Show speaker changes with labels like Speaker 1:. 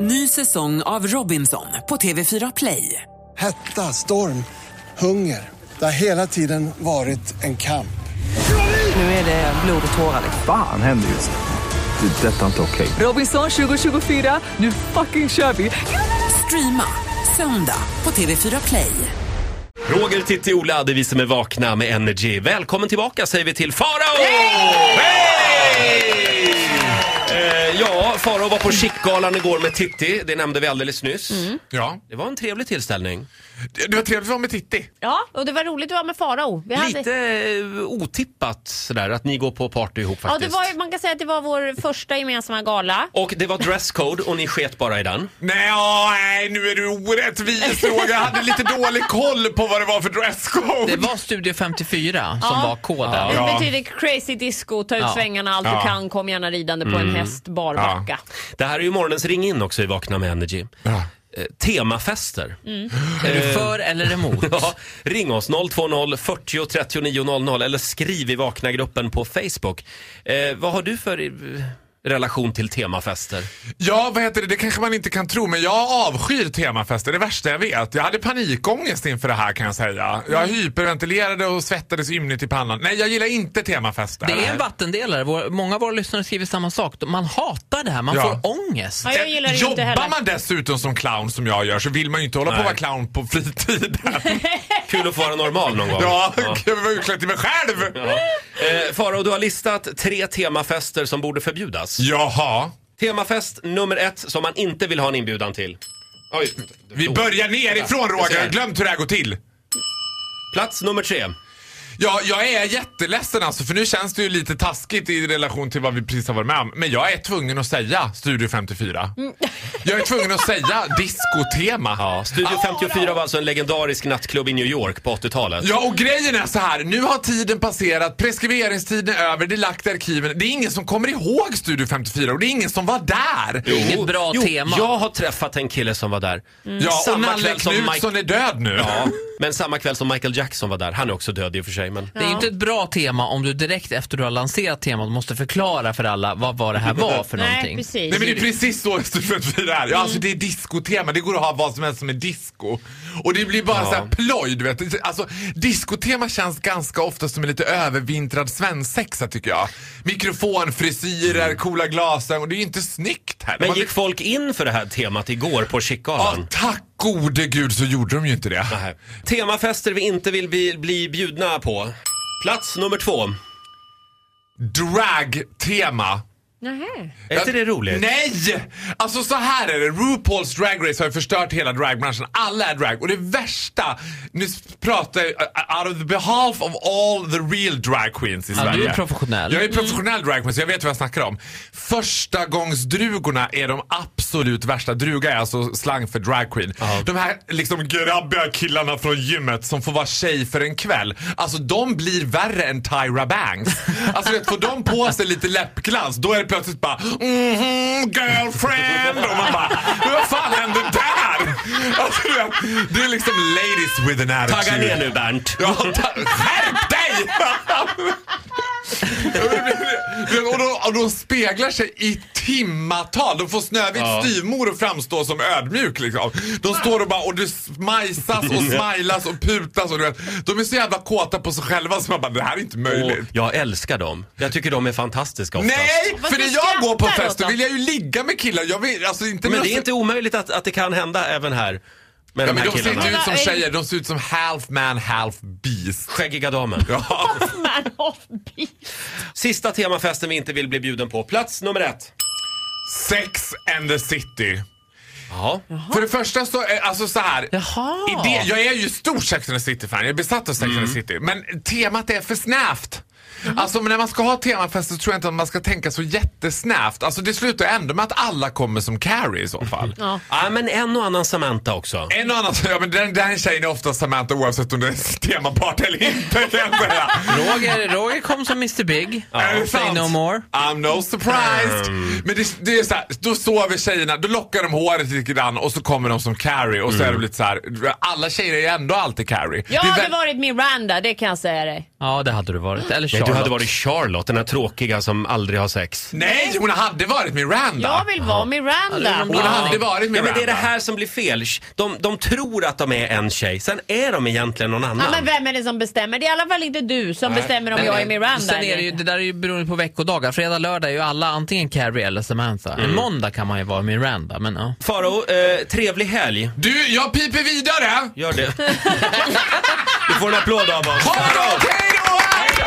Speaker 1: Ny säsong av Robinson på TV4 Play.
Speaker 2: Hetta, storm, hunger. Det har hela tiden varit en kamp.
Speaker 1: Nu är det blod och tårar.
Speaker 3: Fan händer just nu. Det. är Detta är inte okej.
Speaker 1: Robinson 2024, nu fucking kör vi! Streama söndag på TV4 Play.
Speaker 4: Roger, Titti, Ola, det är vi som är vakna med Energy. Välkommen tillbaka säger vi till Farao! Hey! Eh, ja, Farao var på Chic-galan igår med Titti, det nämnde vi alldeles nyss.
Speaker 5: Mm.
Speaker 6: Ja.
Speaker 4: Det var en trevlig tillställning.
Speaker 6: Det det var trevligt att vara med Titti.
Speaker 5: Ja, och det var roligt att vara med Farao. Vi
Speaker 4: Lite eh, otippat sådär att ni går på party ihop
Speaker 5: ja, det
Speaker 4: faktiskt.
Speaker 5: var, ju- man kan säga att det var vår första gemensamma gala.
Speaker 4: Och det var dresscode och ni sket bara i den.
Speaker 6: Nej, ja, nej, nu är du orättvis Roger. Jag hade lite dålig koll på vad det var för dresscode.
Speaker 7: Det var Studio 54 som
Speaker 5: Ja.
Speaker 7: var koden.
Speaker 5: Det
Speaker 6: Ja.
Speaker 5: betyder crazy disco, ta ut
Speaker 7: Ja.
Speaker 5: svängarna allt
Speaker 6: Ja.
Speaker 5: du kan, kom gärna ridande på en häst barbacka.
Speaker 4: Det här är ju morgonens ring in också i Vakna med Energy.
Speaker 6: Ja.
Speaker 4: Eh, temafester.
Speaker 7: Är du för eller emot?
Speaker 4: Ja, ring oss 020 40 39 00 eller skriv i vakna-gruppen på Facebook. Eh, vad har du för eh, relation till temafester?
Speaker 6: Ja, vad heter det? Det kanske man inte kan tro, men jag avskyr temafester. Det är det värsta jag vet. Jag hade panikångest inför det här kan jag säga. Jag hyperventilerade och svettades ymnigt i pannan. Nej, jag gillar inte temafester.
Speaker 7: Det är en vattendelare. Vår, många av våra lyssnare skriver samma sak. Man hatar det här, man
Speaker 6: Ja.
Speaker 7: får ångest.
Speaker 5: Ja, jag gillar det ju inte
Speaker 6: Jobbar
Speaker 5: heller.
Speaker 6: man dessutom som clown som jag gör så vill man ju inte hålla på
Speaker 4: Nej.
Speaker 6: att vara clown på fritiden.
Speaker 4: Kul att få vara normal någon gång.
Speaker 6: ja, jag var utklädd till mig själv.
Speaker 4: Ja. Eh, Farao, du har listat tre temafester som borde förbjudas.
Speaker 6: Jaha.
Speaker 4: Temafest nummer ett som man inte vill ha en inbjudan till. Oj.
Speaker 6: Vi börjar nerifrån Roger, jag har glömt hur det här går till.
Speaker 4: Plats nummer tre.
Speaker 6: Ja, jag är jätteledsen alltså för nu känns det ju lite taskigt i relation till vad vi precis har varit med om. Men jag är tvungen att säga Studio 54. Jag är tvungen att säga diskotema.
Speaker 4: Ja, Studio
Speaker 6: Ah!
Speaker 4: 54 var alltså en legendarisk nattklubb i New York på 80-talet.
Speaker 6: Ja, och grejen är så här. Nu har tiden passerat, preskriberingstiden är över, det är lagt i arkiven. Det är ingen som kommer ihåg Studio 54 och det är ingen som var där.
Speaker 4: Jo.
Speaker 7: Inget bra
Speaker 4: jo,
Speaker 7: tema.
Speaker 4: Jag har träffat en kille som var där.
Speaker 6: Mm. Ja, och
Speaker 4: Samma
Speaker 6: Nalle
Speaker 4: kväll som Mike-
Speaker 6: Knutsson är död nu.
Speaker 4: Ja, men samma kväll som Michael Jackson var där. Han är också död i och för sig. Men...
Speaker 7: Det är ju inte ett bra tema om du direkt efter du har lanserat temat måste förklara för alla vad, vad det här var för
Speaker 5: Nej,
Speaker 7: någonting.
Speaker 5: precis.
Speaker 6: Nej men det är precis så Studio 54 är. Ja, alltså det är diskotema. Det går att ha vad som helst som är disco. Och det blir bara
Speaker 4: Ja.
Speaker 6: så här ploj, du vet. Alltså diskotema känns ganska ofta som en lite övervintrad svensexa tycker jag. Mikrofon, frisyrer, coola glasögon. Och det är ju inte snyggt här.
Speaker 4: Mm. Men
Speaker 6: Man-
Speaker 4: gick folk in för det här temat igår på
Speaker 6: Ja,
Speaker 4: Chicagoan?
Speaker 6: tack gode gud så gjorde de ju inte det.
Speaker 4: Nej. Temafester vi inte vill bli, bli bjudna på. Plats nummer två.
Speaker 6: Dragtema.
Speaker 5: Nähä.
Speaker 4: Är inte det roligt?
Speaker 6: Nej! Alltså så här är det. RuPaul's Drag Race har ju förstört hela dragbranschen. Alla är drag. Och det värsta, nu s- pratar jag uh, out of the behalf of all the real drag queens i
Speaker 7: du är
Speaker 6: Sverige.
Speaker 7: professionell.
Speaker 6: Jag är professionell drag queen så jag vet vad jag snackar om. Första gångs är de absolut värsta. Druga är alltså slang för drag queen. De här liksom grabbiga killarna från gymmet som får vara tjej för en kväll. Alltså de blir värre än Tyra Banks. Alltså vet, får de på sig lite läppglans då är det plötsligt bara mhm girlfriend och man bara vad fan hände där? Alltså, du vet, det är liksom ladies with an attitude.
Speaker 4: Tagga ner nu Bernt.
Speaker 6: Ja, ta- skärp dig! Men- och, de, och de speglar sig i timmatal. De får Snövits styvmor att framstå som ödmjuk. Liksom. De står och bara och det smajsas och smilas och putas. Och du vet, de är så jävla kåta på sig själva så man bara, det här är inte
Speaker 4: Och
Speaker 6: möjligt.
Speaker 4: jag älskar dem. Jag tycker de är fantastiska oftast.
Speaker 6: Nej!
Speaker 5: Vad
Speaker 6: För när
Speaker 5: du
Speaker 6: jag går på
Speaker 5: skrattar
Speaker 6: fest då
Speaker 5: åt
Speaker 6: vill jag ju ligga med killar. Jag vill, alltså, inte
Speaker 4: Men
Speaker 6: med
Speaker 4: det är inte omöjligt att, att det kan hända även här. Med
Speaker 6: Ja,
Speaker 4: de
Speaker 6: men
Speaker 4: här
Speaker 6: de ser
Speaker 4: killarna.
Speaker 6: inte ut som
Speaker 5: Men vad är-
Speaker 6: tjejer, de ser ut som half man, half beast.
Speaker 4: Skäggiga damen.
Speaker 6: Ja.
Speaker 5: Man of beast.
Speaker 4: Sista temafesten vi inte vill bli bjuden på. Plats nummer ett.
Speaker 6: Sex and the city.
Speaker 4: Ja.
Speaker 6: För det första så, eh, alltså så här.
Speaker 7: Jaha.
Speaker 6: Idé, jag är ju stor Sex and the City-fan, jag är besatt av Sex and the City. Men temat är för snävt. Alltså men när man ska ha temafester så tror jag inte att man ska tänka så jättesnävt. Alltså det slutar ändå med att alla kommer som Carrie i så fall.
Speaker 4: Ja, men en och annan Samantha också.
Speaker 6: En och annan ja, men den, den tjejen är ofta Samantha oavsett om det är temapart eller inte kan jag säga.
Speaker 7: Roger, Roger kom som Mr Big.
Speaker 6: Är det
Speaker 7: Say
Speaker 6: sant?
Speaker 7: no more.
Speaker 6: I'm no surprised. Men det, det är så här, då sover tjejerna, då lockar de håret lite grann och så kommer de som Carrie och så är de lite så här. alla tjejer är ju ändå alltid Carrie.
Speaker 5: Jag
Speaker 6: Det är
Speaker 5: hade
Speaker 6: väl-
Speaker 5: varit Miranda, det kan jag säga dig.
Speaker 7: Ja, det hade du varit. Eller
Speaker 4: Nej,
Speaker 7: Charlotte.
Speaker 4: du hade varit Charlotte, den här tråkiga som aldrig har sex.
Speaker 6: Nej, hon hade varit Miranda!
Speaker 5: Jag vill vara Miranda.
Speaker 6: Hon hade varit
Speaker 4: Ja,
Speaker 6: Miranda.
Speaker 4: men det är det här som blir fel. De, de tror att de är en tjej, sen är de egentligen någon annan.
Speaker 5: Ja, men vem är det som bestämmer? Det är i alla fall inte du som bestämmer om
Speaker 7: Men,
Speaker 5: jag
Speaker 7: eh,
Speaker 5: är Miranda.
Speaker 7: Sen är det,
Speaker 5: eller
Speaker 7: ju,
Speaker 5: inte.
Speaker 7: det där är ju beroende på veckodagar. Fredag, lördag är ju alla antingen Carrie eller Samantha.
Speaker 6: Mm.
Speaker 7: En måndag kan man ju vara Miranda, men ja.
Speaker 4: Faro, eh, trevlig helg.
Speaker 6: Du, jag piper vidare!
Speaker 4: Gör det. du får en applåd av oss.
Speaker 6: Ha det gott! Hej då!